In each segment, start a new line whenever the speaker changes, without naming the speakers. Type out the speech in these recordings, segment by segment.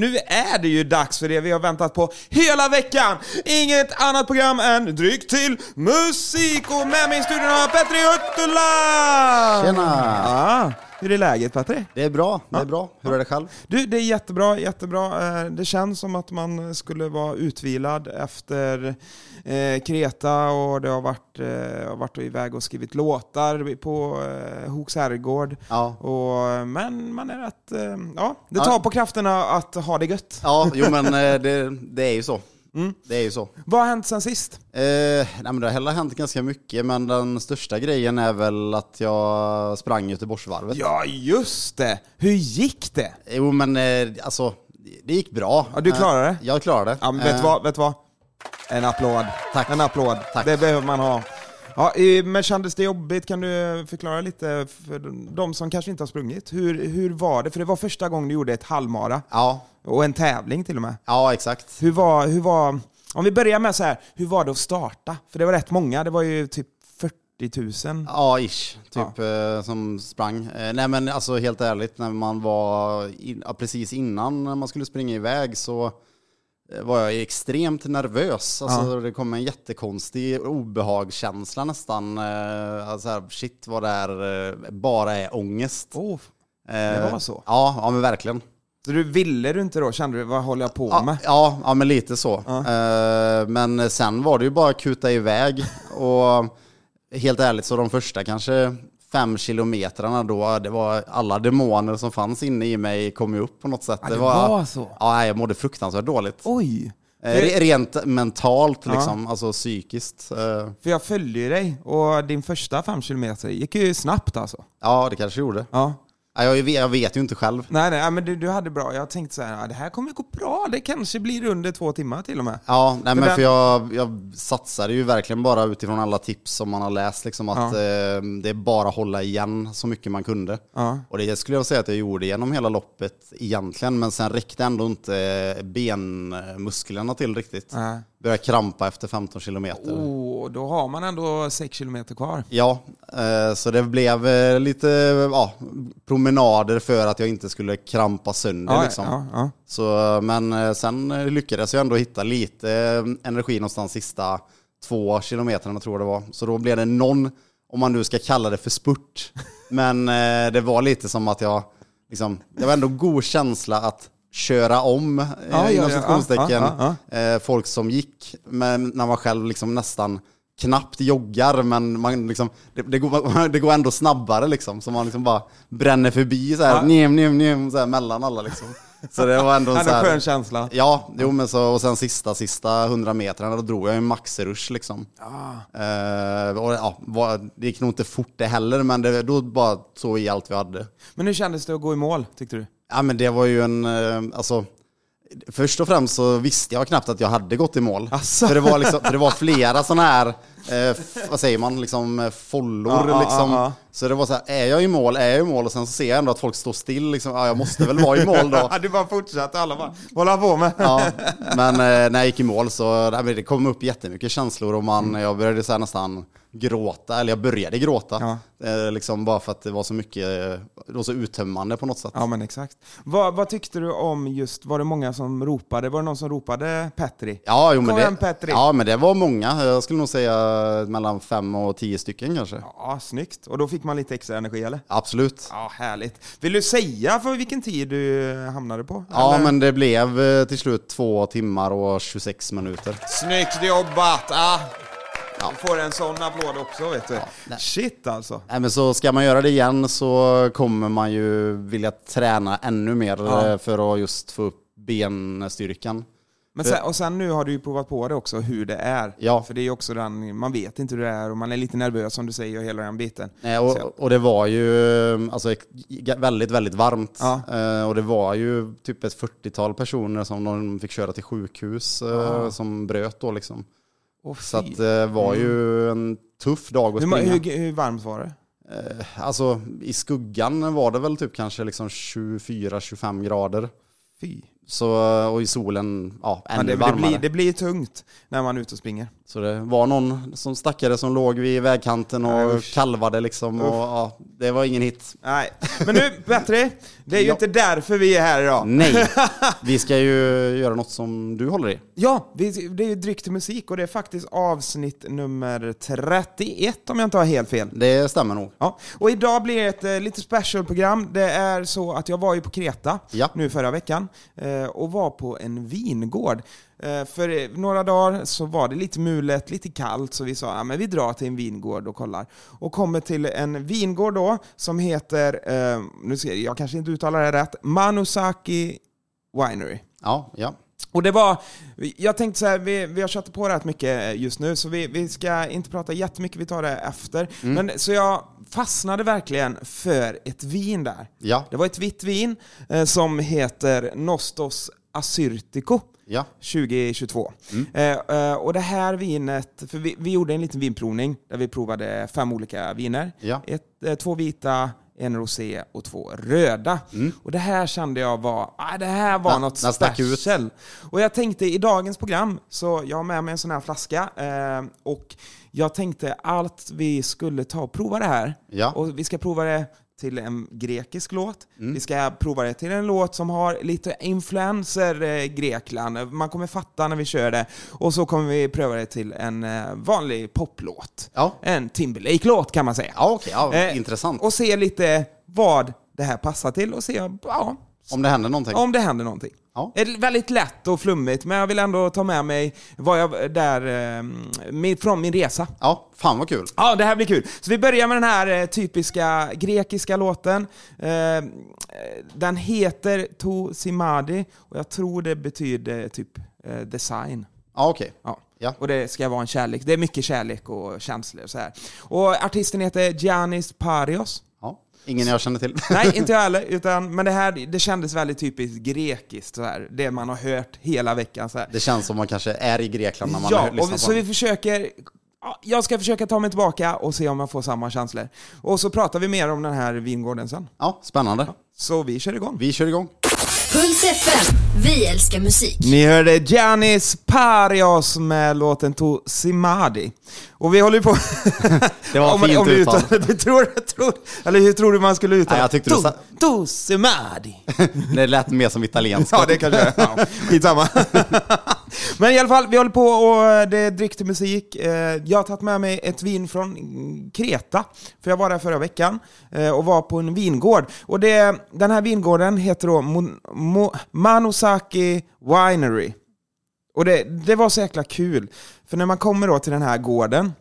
Nu är det ju dags för det vi har väntat på hela veckan. Inget annat program än Dryck till musik och med mig i studion har jag Petri Huttula!
Tjena!
Ja, hur är läget Petri?
Det är bra, det är bra. Hur är det själv?
Du, det är jättebra, jättebra. Eh, Det känns som att man skulle vara utvilad efter eh, Kreta och det har varit, eh, jag har varit iväg och skrivit låtar på eh, Hooks herrgård.
Ja.
Och, eh, men man är rätt... eh, Ja, det tar
Ja.
på krafterna att ha det gött.
Ja, jo men eh, det, det är ju så. Det är ju så.
Vad har hänt sen sist?
Eh, nej men det har hänt ganska mycket, men den största grejen är väl att jag sprang Göteborgsvarvet.
Ja, just det! Hur gick det?
Jo men eh, alltså, det gick bra.
Ja, du klarade det?
Eh, jag klarade det.
Ja, men vet du
Eh,
vad, vet du vad? En applåd.
Tack.
En applåd.
Tack.
Det behöver man ha. Ja, eh, men kändes det jobbigt? Kan du förklara lite för de som kanske inte har sprungit? Hur, hur var det? För det var första gången du gjorde ett halvmara
Ja,
och en tävling till och med.
ja exakt.
Hur var, hur var, om vi börjar med så här, hur var det att starta? För det var rätt många, det var ju typ 40 000.
Ja, ish. Typ eh, som sprang. Eh, nej men alltså helt ärligt, när man var in, ja, precis innan man skulle springa iväg så eh, var jag extremt nervös. Alltså, Det kom en jättekonstig obehagskänsla nästan. Eh, alltså, här, shit vad det här eh, bara är ångest.
Oh.
det
var så?
Ja, ja men verkligen.
Så du ville du inte då? Kände du, vad håller jag på med?
Ja, ja, ja, men lite så. Eh, men sen var det ju bara att kuta iväg. Och helt ärligt, så de första kanske fem kilometrarna då, det var alla demoner som fanns inne i mig kom ju upp på något sätt.
Ja, det var så.
Ja, nej, jag mådde fruktansvärt dåligt.
Oj!
Eh, re- rent mentalt liksom, alltså psykiskt. Eh,
För jag följde ju dig och din första fem kilometer gick ju snabbt alltså.
ja, det kanske gjorde.
Ja.
Ja, jag, jag vet ju inte själv.
Nej, nej, men du, du hade bra. Jag tänkte så här, "Ah, det här kommer gå bra. Det kanske blir under två timmar till och med.
Ja, nej, men
den-
för jag, jag satsade ju verkligen bara utifrån alla tips som man har läst, liksom att eh, det är bara att hålla igen så mycket man kunde.
Ja.
Och det skulle jag säga att jag gjorde genom hela loppet egentligen, men sen räckte ändå inte eh, benmusklerna till riktigt.
Nej. Oh.
Började krampa efter 15 kilometer.
Och då har man ändå sex kilometer kvar.
Ja, eh, så det blev eh, lite ja, promenader för att jag inte skulle krampa sönder.
Ja,
liksom.
ja, ja.
Så, men eh, sen eh, lyckades jag ändå hitta lite eh, energi någonstans sista två kilometrarna tror jag det var. Så då blev det någon, om man nu ska kalla det för spurt. Men eh, det var lite som att jag, liksom, det var ändå god känsla att köra om, eh,
ja,
inom
ja,
citationstecken,
ja, ja,
eh, folk som gick. Men när man själv liksom nästan knappt joggar, men man liksom, det, det, går, det går ändå snabbare liksom. Så man liksom bara bränner förbi så här,
Ja.
njem, njem, njem, så här mellan alla liksom. Så det var ändå
Det
en så
är en skön
här...
känsla.
Ja, jo men så, och sen sista, sista 100 metrarna, då drog jag en maxrush liksom. Eh, och, ja, var, det gick nog inte fort det heller, men det, då bara såg vi allt vi hade.
Men hur kändes det att gå i mål, tyckte du?
Ja men det var ju en, eh, alltså Först och främst så visste jag knappt att jag hade gått i mål.
Asså?
För, det var liksom, för det var flera sådana här, eh, f- vad säger man, liksom eh, follor
Ja, ja,
liksom.
ja, ja.
Så det var så här, är jag i mål, är jag i mål? Och sen så ser jag ändå att folk står still liksom, ja jag måste väl vara i mål då.
Ja, du bara fortsatte. Alla bara, vad håller han på med?
Ja, men eh, när jag gick i mål så nej, men det kom upp jättemycket känslor och man,
Mm.
jag började så här nästan gråta, eller jag började gråta. Eh, liksom bara för att det var så mycket, eh, det var så uttömmande på något sätt.
Ja, men exakt. Vad, vad tyckte du om just, var det många som ropade? Var det någon som ropade Petri?
Ja, jo, men
Kom
det,
igen, Petri.
ja, men det var många. Jag skulle nog säga mellan fem och tio stycken kanske.
Ja, snyggt. Och då fick man lite extra energi, eller?
Absolut.
Ja, härligt. Vill du säga för vilken tid du hamnade på?
Ja,
Eller?
men det blev eh, till slut två timmar och 26 minuter.
Snyggt jobbat! Ah.
Ja.
Du får en sån applåd också vet du.
nej.
Shit alltså.
Nej, men så ska man göra det igen så kommer man ju vilja träna ännu mer
Ja.
eh, för att just få upp benstyrkan.
Men sen, och sen nu har du ju provat på det också hur det är.
Ja.
För det är ju också den, man vet inte hur det är och man är lite nervös som du säger och hela den biten.
Nej,
Så jag-
eh, och, och det var ju eh, alltså, ex- väldigt, väldigt varmt.
Ja.
Eh, och det var ju typ ett 40-tal personer som de fick köra till sjukhus eh, som bröt då liksom.
Åh, fy.
Så att det var ju en tuff dag att
Mm. hur, ma-
springa.
hur, hur varmt var det?
Alltså i skuggan var det väl typ kanske liksom 24-25 grader.
Fy.
Så, eh, och i solen, ja,
Men
ännu
det, det,
varmare.
blir, det blir tungt när man är ute och springer.
Så det var någon som stackare som låg vid vägkanten och
Usch.
kalvade liksom. Och, ja, det var ingen hit.
Nej. Men nu, Petri, det är ju
Ja.
inte därför vi är här idag.
Nej, vi ska ju göra något som du håller i.
Ja, vi, det är ju Dryck till musik och det är faktiskt avsnitt nummer 31 om jag inte har helt fel.
Det stämmer nog.
Ja, och idag blir det ett eh, lite specialprogram. Det är så att jag var ju på Kreta
Ja.
nu förra veckan eh, och var på en vingård. Eh, för eh, några dagar så var det lite mulet, lite kallt, så vi sa ja, men vi drar till en vingård och kollar. Och kommer till en vingård då som heter, eh, nu ser jag, jag kanske inte uttalar det rätt, Manusaki Winery.
Ja, ja.
Och det var, jag tänkte så här, vi, vi har köttat på rätt mycket just nu så vi, vi ska inte prata jättemycket, vi tar det efter. Men, så jag fastnade verkligen för ett vin där.
Ja,
Det var ett vitt vin eh, som heter Nostos Assyrtiko.
ja.
2022. Eh, eh, och det här vinet, för vi, vi gjorde en liten vinprovning där vi provade fem olika viner.
Ja.
Ett, eh, två vita, en rosé och två röda.
Mm,
Och det här kände jag var, ah, det här var
Nä-
något
den stack ut.
special. Och jag tänkte i dagens program, så jag har med mig en sån här flaska eh, och jag tänkte allt vi skulle ta och prova det här.
Ja. Mm.
Och vi ska prova det till en grekisk låt. Vi ska prova det till en låt som har lite influenser eh, Grekland. Man kommer fatta när vi kör det. Och så kommer vi pröva det till en eh, vanlig poplåt.
Ja.
En Timberlake-låt kan man säga.
Ja, okej. Ja,
Eh,
intressant.
Och se lite vad det här passar till och se ja,
Om det händer någonting.
om det händer någonting.
Ja.
Det är Väldigt lätt och flummigt, men jag vill ändå ta med mig vad jag, där, eh, min- från min resa.
Ja, fan vad kul.
Ja, det här blir kul. Så vi börjar med den här eh, typiska grekiska låten. Eh, den heter To Simadi och jag tror det betyder typ eh, design.
Ja, okej.
Ja.
Ja.
Och det ska vara en kärlek. Det är mycket kärlek och känslor och så här. Och artisten heter Giannis Parios.
Ja. Ingen jag känner till.
Nej, inte jag heller. Utan, men det här det kändes väldigt typiskt grekiskt. Så här. Det man har hört hela veckan. Så här.
Det känns som man kanske är i Grekland när man
Ja,
hör-
och vi,
lyssnar
så
på
vi
den.
försöker... ja, Jag ska försöka ta mig tillbaka och se om jag får samma känslor. Och så pratar vi mer om den här vingården sen.
Ja, spännande.
Så vi kör igång.
Vi kör igång.
Puls FM. Vi älskar musik.
Ni hörde Giannis Parios med låten To Simadi. Och vi håller ju på...
Det var
om, man-
fint
om vi
uttal.
uttalar det. tror, tror, Eller hur tror du man skulle uttala
Nej, jag tyckte du
To-
sa-
To Simadi.
Det lät mer som italienska.
Ja, det kanske är. Ja, skitsamma. Men i alla fall, vi håller på och eh, det är dryck till musik. Eh, Jag har tagit med mig ett vin från Kreta, för jag var där förra veckan eh, och var på en vingård. Och det, den här vingården heter då Mon, Mo, Manosaki Winery. Och det, det var så jäkla kul, för när man kommer då till den här gården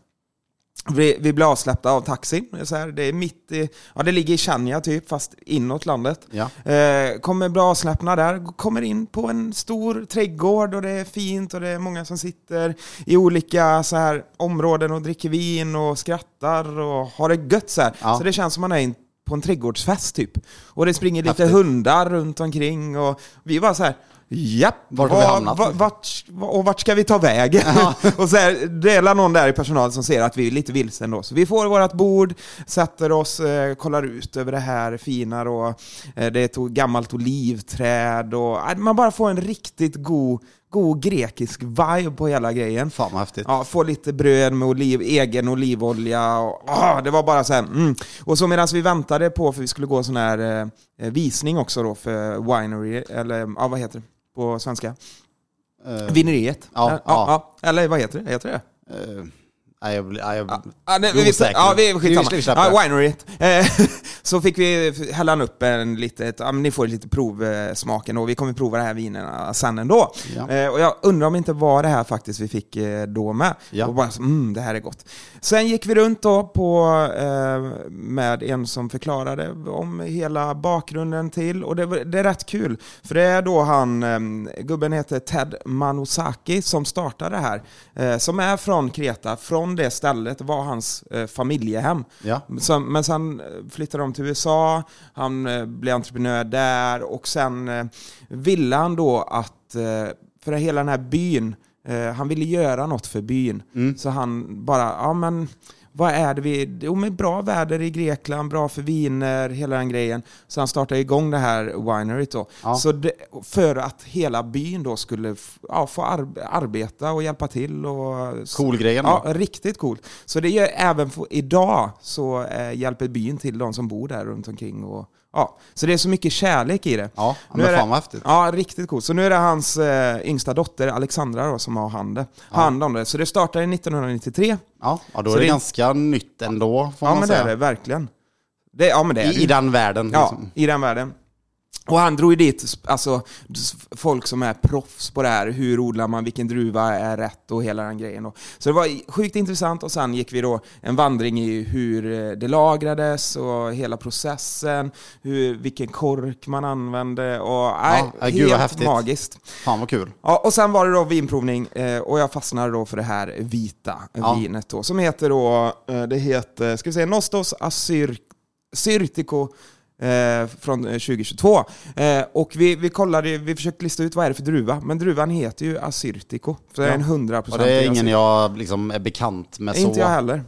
vi, vi blir avsläppta av taxin. Så här, det är mitt i, ja det ligger i Chania typ, fast inåt landet.
Ja.
Eh, kommer bli avsläppna där, kommer in på en stor trädgård och det är fint och det är många som sitter i olika så här, områden och dricker vin och skrattar och har det gött så här.
Ja.
Så det känns som man är in på en trädgårdsfest typ. Och det springer lite
Häftigt.
hundar runt omkring och vi var så här, japp,
Vart har vi
vad-
hamnat?
vad- vart, och vart ska vi ta vägen? och så här, det är någon där i personalen som ser att vi är lite vilsen då. Så vi får vårt bord, sätter oss, eh, kollar ut över det här fina då. Eh, det är ett o- gammalt olivträd och eh, man bara får en riktigt god, god grekisk vibe på hela grejen.
Fan vad häftigt.
Ja, få lite bröd med oliv, egen olivolja. Och, ah, det var bara så här. Mm. Och så medan vi väntade på, för vi skulle gå en sån här eh, visning också då för winery, eller ja, vad heter det på svenska?
Eh,
Vineriet?
Ja,
ja,
ja.
ja. Eller vad heter det? Heter det
eh, nej, jag blir... nej, jag-
Ja, nej,
Jag är
vi,
osäker.
ja, vi
Vi-
skitsamma.
vi släpper
ja,
det.
wineriet. Eh, så fick vi hälla upp en litet, ja, men ni får lite provsmaken och vi kommer prova de här vinerna sen ändå.
Ja.
Eh, och jag undrar om inte var det här faktiskt vi fick eh, då med.
Ja.
Och bara så, mm, det här är gott. Sen gick vi runt då på, eh, med en som förklarade om hela bakgrunden till och det, var- det är rätt kul. För det är då han, eh, gubben heter Ted Manosaki som startade det här. Eh, som är från Kreta, från det stället var hans eh, familjehem.
Ja.
Sen, men sen eh, flyttade de till USA, han eh, blev entreprenör där och sen eh, ville han då att, eh, för hela den här byn eh, Eh, han ville göra något för byn. Så han bara, ja men vad är det vi... Jo men bra väder i Grekland, bra för viner, hela den grejen. Så han startade igång det här wineryt då.
Ja.
Så det, för att hela byn då skulle f- ja, få ar- arbeta och hjälpa till och...
Cool grejen då.
Ja, riktigt coolt. Så det gör även för, idag så eh, hjälper byn till de som bor där runt omkring och ja. Så det är så mycket kärlek i det.
Ja,
Nu är
men
det-
fan vad häftigt.
Ja, riktigt coolt. Så nu är det hans eh, yngsta dotter, Alexandra, då, som har hand, hand om det. Så det startade 1993.
Ja, ja då
Så
är det,
det-
ganska nytt ändå får
Ja,
man
men det
säga.
är det verkligen. Det, ja, men det är det
I, I
ju.
den världen.
Ja,
liksom.
i den världen. Och han drog ju dit sp- alltså, s- folk som är proffs på det här. Hur odlar man, vilken druva är rätt och hela den grejen. då. Så det var i- sjukt intressant och sen gick vi då en vandring i hur eh, det lagrades och hela processen, hur, vilken kork man använde och nej,
ja, gud vad
helt
häftigt.
magiskt.
Fan vad kul.
Ja, och sen var det då vinprovning eh, och jag fastnade då för det här vita
Ja.
vinet då som heter då, eh, det heter, ska vi säga Nostos Asyr, Syrtiko eh, från eh, 2022. Eh, och vi, vi kollade, ju- vi försökte lista ut vad är det för druva, men druvan heter ju Assyrtiko. Så det är
Ja.
en 100%
Och det är ingen
Assyrtiko.
jag liksom är bekant med så.
Inte jag heller.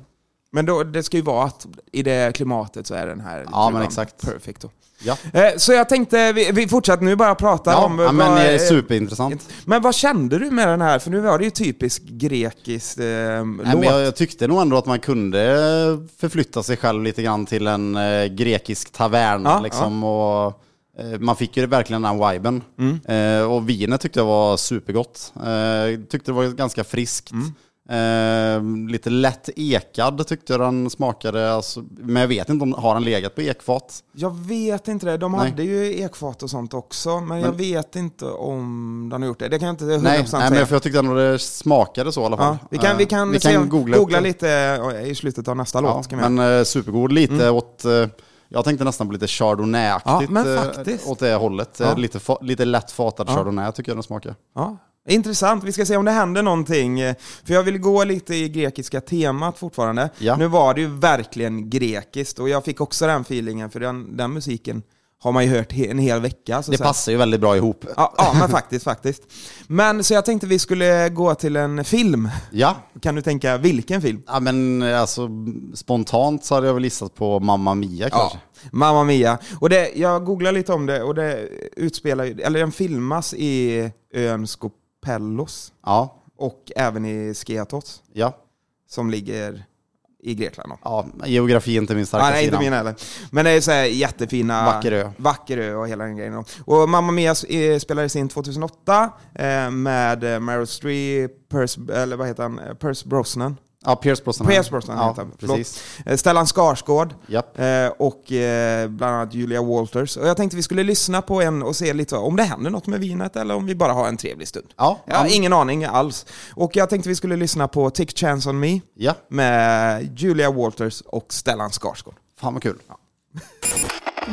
Men då, det ska ju vara att i det klimatet så är den här
Ja, men
druvan
exakt.
perfekt då.
Ja,
Eh, så jag tänkte, vi, vi fortsätter nu bara prata
ja,
om...
ja
vad-
men det är
eh,
superintressant.
men vad kände du med den här? För nu var det ju typisk grekisk eh,
Nej,
låt.
men jag, jag tyckte nog ändå att man kunde förflytta sig själv lite grann till en eh, grekisk tavern.
Ja, Mm.
liksom, och, eh, man fick ju verkligen den viben. Eh, och vinet tyckte jag var supergott. Eh, tyckte det var ganska friskt.
Mm.
Eh, lite lätt ekad tyckte jag den smakade. Alltså, men jag vet inte om har den legat på ekfat.
Jag vet inte det. De
Nej.
hade ju ekfat och sånt också, men, jag vet inte om de har gjort det. Det kan jag inte 100%
Nej, nej
säga.
men för jag tyckte ändå det smakade så i alla fall.
ja, vi kan, vi
Eh,
kan, se, googla,
upp det.
lite eh, i slutet av nästa
Ja,
låt. Kan vi göra. Mm.
men eh, supergod, lite åt... eh, jag tänkte nästan på lite chardonnay-aktigt.
Ja, men
eh,
faktiskt.
åt det hållet. Eh,
Ja.
Lite, fa- lite lätt fatad
Ja.
chardonnay tycker jag den smakar.
Ja. Intressant, vi ska se om det händer någonting. Eh, För jag vill gå lite i grekiska temat fortfarande.
Ja.
Nu var det ju verkligen grekiskt och jag fick också den feelingen, för den, den musiken har man ju hört he- en hel vecka. Så
Det
att säga.
passar ju väldigt bra ihop.
Ja, ja men faktiskt, faktiskt. Men så jag tänkte vi skulle gå till en film.
Ja,
Kan du tänka vilken film?
ja men eh, alltså spontant så hade jag väl gissat på Mamma Mia kanske.
Mamma Mia. Och det, jag googlade lite om det och det utspelar ju- eller den filmas i ön Skopellos
Ja,
och även i Skiathos
ja.
som ligger i Grekland. Då.
ja. geografi är inte min starka
Ah, nej, inte
sida.
min heller. Men det är så här jättefina...
Vacker ö.
Vacker ö och hela den grejen. då. Och Mamma Mia eh, spelades in 2008 eh, med eh, Meryl Streep, Perce, eller vad heter han? Eh, Perce Brosnan.
Ja, Pierce Brosnan.
Pierce Brosnan
ja,
heter han, förlåt.
precis.
Eh, Stellan Skarsgård
Japp.
eh, och eh, bland annat Julia Walters. Och jag tänkte vi skulle lyssna på en och se lite om det händer något med vinet eller om vi bara har en trevlig stund.
Ja,
Jag har
ja.
ingen aning alls. Och jag tänkte vi skulle lyssna på Take Chance On Me
ja,
med Julia Walters och Stellan Skarsgård.
fan vad kul.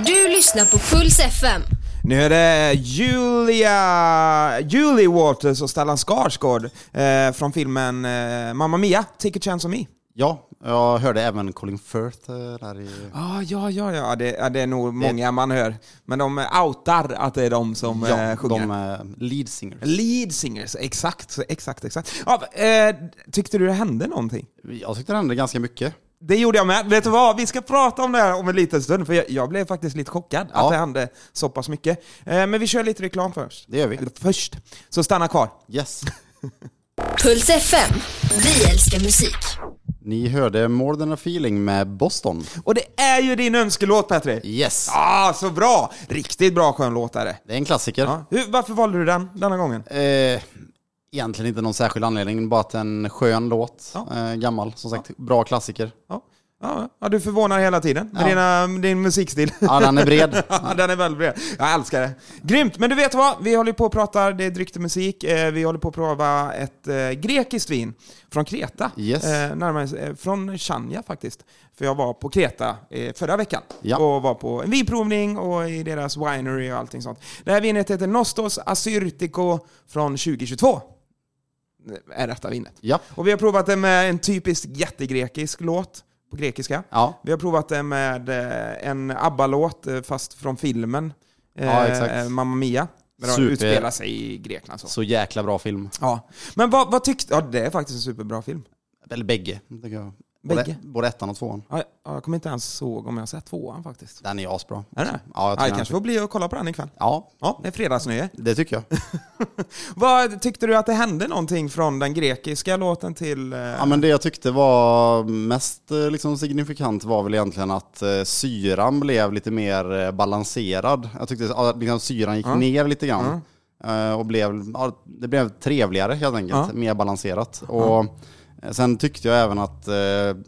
Du lyssnar på Puls FM.
Nu är det Julia, Julie Walters och Stellan Skarsgård eh, från filmen eh, Mamma Mia, Take a Chance On Me.
Ja, jag hörde även Colin Firth eh, där i...
Ah, ja, ja, ja. Det, ja, det är nog många man hör. Men de eh, outar att det är de som eh, sjunger.
de eh, lead singers.
Lead singers, exakt, exakt, exakt. Ja, eh, tyckte du det hände någonting?
Jag tyckte det hände ganska mycket.
Det gjorde jag med. Vet du vad? Vi ska prata om det här om en liten stund, för jag, jag blev faktiskt lite chockad
Ja.
att det hände så pass mycket. Eh, men vi kör lite reklam först.
Det gör vi.
Eller Först. Så stanna kvar.
Yes.
Puls FM. Vi älskar musik.
Ni hörde More than a feeling med Boston.
Och det är ju din önskelåt, Petri!
Yes.
Ah, så bra! Riktigt bra skön låt är det.
Det är en klassiker.
Ja. Hur, varför valde du den denna gången?
Eh, egentligen inte någon särskild anledning, bara att det är en skön låt.
Ja.
Eh, gammal, som sagt. Bra klassiker.
Ja. Ja, ja, du förvånar hela tiden med dina, din musikstil.
Ja, den är bred.
Ja, den är väldigt bred. Jag älskar det. Grymt! Men du vet vad? Vi håller på och pratar, det är drygt och musik. Eh, Vi håller på att prova ett eh, grekiskt vin från Kreta.
Yes.
Eh, närmare, eh, från Chania faktiskt. För jag var på Kreta eh, förra veckan
Ja.
och var på en vinprovning och i deras winery och allting sånt. Det här vinet heter Nostos Assyrtiko från 2022. Är detta vinet.
Ja.
Och vi har provat det med en typisk jättegrekisk låt på grekiska.
Ja.
Vi har provat det med eh, en ABBA-låt, eh, fast från filmen. eh,
Ja, exakt.
eh, Mamma Mia. När de
Super.
utspelar sig i Grekland. Så.
Så jäkla bra film.
Ja. Men vad, vad tyckte... Ja, det är faktiskt en superbra film.
Eller bägge, tycker jag. Både,
Bägge?
både ettan och tvåan.
Ja, ja, jag kommer inte ens ihåg om jag har sett tvåan faktiskt.
Den är asbra.
Är det?
Ja, jag
Ja,
tycker
jag
den.
kanske får bli och kolla på den ikväll.
Ja,
Ja, det är fredagsnöje.
det tycker jag. Mm.
Vad Tyckte du att det hände någonting från den grekiska låten till... eh,
Ja, men det jag tyckte var mest eh, liksom, signifikant var väl egentligen att eh, syran blev lite mer eh, balanserad. Jag tyckte att liksom, syran gick ner lite grann. Eh, och blev, ja, det blev trevligare helt enkelt,
Ja.
mer balanserat. Och, eh, sen tyckte jag även att, eh,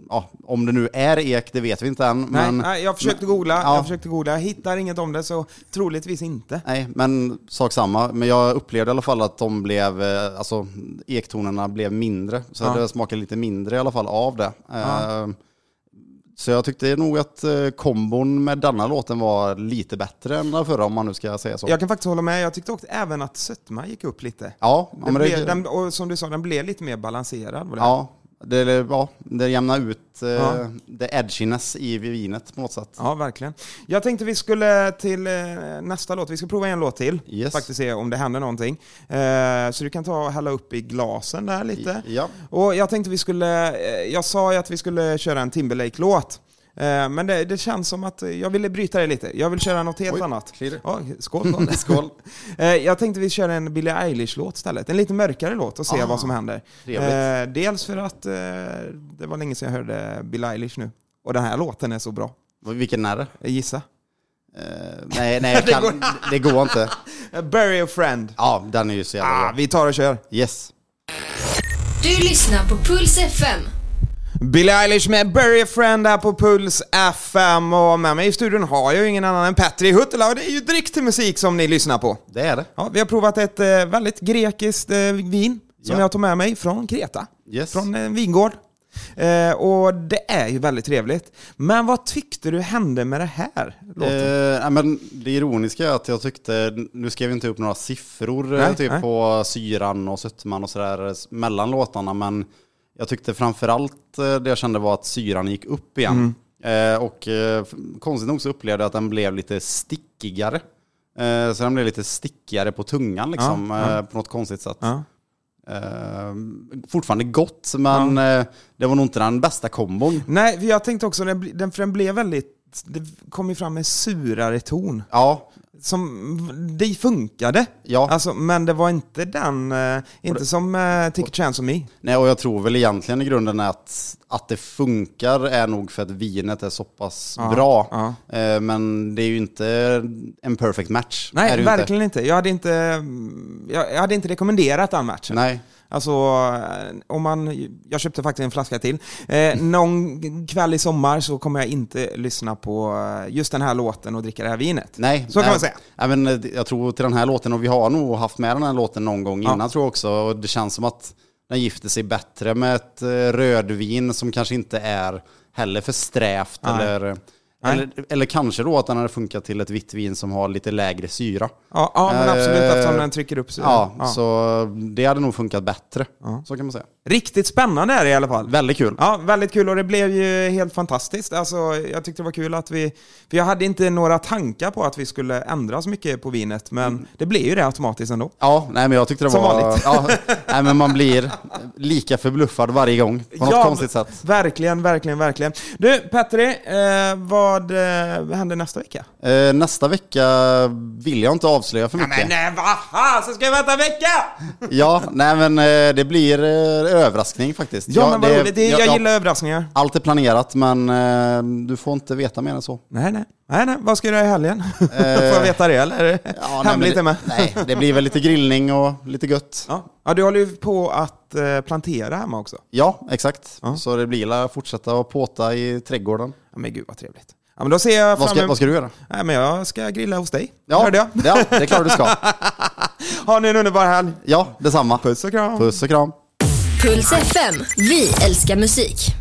ja, om det nu är ek, det vet vi inte än.
Nej,
men,
nej, jag försökte googla,
Ja.
jag försökte googla, jag hittar inget om det så troligtvis inte.
Nej, men sak samma. Men jag upplevde i alla fall att de blev, eh, alltså ektonerna blev mindre. Så
Ja.
det smakade lite mindre i alla fall av det. Eh, Så jag tyckte nog att eh, kombon med denna låten var lite bättre än den förra om man nu ska säga så. Ja,
Jag kan faktiskt hålla med, jag tyckte också även att sötma gick upp lite.
ja,
Den
men det,
blev, den, och som du sa, den blev lite mer balanserad. var det?
ja, det, ja, det jämnar ut eh,
Ja.
det edginess i vinet på något sätt.
ja, verkligen. Jag tänkte vi skulle till eh, nästa låt, vi ska prova en låt till.
Yes.
Faktiskt se om det händer någonting. Eh, så du kan ta och hälla upp i glasen där lite.
Ja.
Och jag tänkte vi skulle, eh, jag sa ju att vi skulle köra en Timberlake-låt. Eh, Men det, det känns som att eh, jag ville bryta det lite. Jag vill köra något helt
Oj,
annat.
klirr.
Ja, skål då.
Skål.
Eh, Jag tänkte vi kör en Billie Eilish-låt istället. En lite mörkare låt och se
Ah,
vad som händer.
trevligt.
Eh, Dels för att eh, det var länge sedan jag hörde Billie Eilish nu. Och den här låten är så bra.
Vilken är det?
Gissa.
Eh, nej, nej, jag kan, det, går. inte.
Eh, Bury a friend.
Ja, den är ju så jävla
Ah,
bra.
vi tar och kör.
Yes.
Du lyssnar på Puls FM.
Billie Eilish med Bury a friend här på Puls FM. Och med mig i studion har jag ju ingen annan än Petri Huttela. Och det är ju dryck till musik som ni lyssnar på.
Det är det.
Ja, vi har provat ett eh, väldigt grekiskt eh, vin som
Ja.
jag tog med mig från Kreta.
Yes.
Från en vingård. Eh, och det är ju väldigt trevligt. Men vad tyckte du hände med det här? låten?
Eh, nej, men det ironiska är att jag tyckte, nu skrev jag inte upp några siffror eh,
Nej,
typ
nej.
på syran och sötman och sådär eh, mellan låtarna, men jag tyckte framförallt eh, det jag kände var att syran gick upp igen.
Mm.
Eh, och eh, f- konstigt nog så upplevde jag att den blev lite stickigare. Eh, så den blev lite stickigare på tungan liksom,
Ja, ja.
Eh, på något konstigt sätt.
ja.
Eh, fortfarande gott, men eh, det var nog inte den bästa kombon.
Nej, för jag tänkte också, den, bli- den, för den blev väldigt... Det kom ju fram en surare ton.
Ja,
Som, det funkade.
ja.
Alltså, men det var inte den, eh, inte som eh, Ticket Chance on Me.
Nej, och jag tror väl egentligen i grunden att, att det funkar är nog för att vinet är så pass
Ja,
bra.
ja.
Eh, Men det är ju inte en perfect match. är
Nej,
det ju
verkligen inte. Jag, hade inte mm, jag, jag hade inte rekommenderat den matchen.
Inte. Nej.
Alltså, eh, om man, jag köpte faktiskt en flaska till. Eh, någon kväll i sommar så kommer jag inte lyssna på eh, just den här låten och dricka det här vinet.
Nej,
Så kan
nej.
man säga.
Nej, men eh, jag tror till den här låten, och vi har nog haft med den här låten någon gång
Ja.
innan tror jag också, och det känns som att den gifter sig bättre med ett eh, rödvin som kanske inte är heller för strävt
Nej.
eller,
Nej.
eller, eller kanske då att den hade funkat till ett vitt vin som har lite lägre syra.
Ja, ja men
Eh,
absolut, eftersom den trycker upp sig.
Ja, så det hade nog funkat bättre.
Ja.
Så kan man säga.
Riktigt spännande är det i alla fall.
Väldigt kul.
Ja, väldigt kul och det blev ju helt fantastiskt. Alltså, jag tyckte det var kul att vi... För jag hade inte några tankar på att vi skulle ändra så mycket på vinet, men
Mm.
det blev ju det automatiskt ändå.
Ja, nej men jag tyckte det
Som
var...
vanligt.
Ja, nej men man blir lika förbluffad varje gång på något
Ja,
konstigt sätt.
Verkligen, verkligen, verkligen. Du, Petri, eh, vad eh, händer nästa vecka?
Eh, nästa vecka vill jag inte avslöja för mycket.
nej, vad fan, så ska jag vänta en vecka!
Ja, nej men eh, det blir eh, överraskning faktiskt.
Ja, men vad
det-
roligt. Det,
ja,
jag
ja,
gillar överraskningar.
Allt är planerat men eh, du får inte veta mer än så.
Nej, nej. Nej, nej. Vad ska du göra i helgen? Får jag veta det, eller?
Eh, Ja, nej, men
Hemligt är
det,
med.
Nej, det blir väl lite grillning och lite gött.
Ja. ja, du håller ju på att eh, plantera hemma också.
Ja, exakt.
Ja.
Så det blir att fortsätta att påta i trädgården.
Ja, men gud vad trevligt. Ja, men då ser jag fram
Vad ska,
emot...
vad ska du göra?
Nej, men jag ska grilla hos dig.
Ja,
Hörde jag.
ja, det är klart du ska.
Ha nu en underbar helg.
Ja, detsamma.
Puss och kram.
Puss och kram.
Puls FM. Vi älskar musik.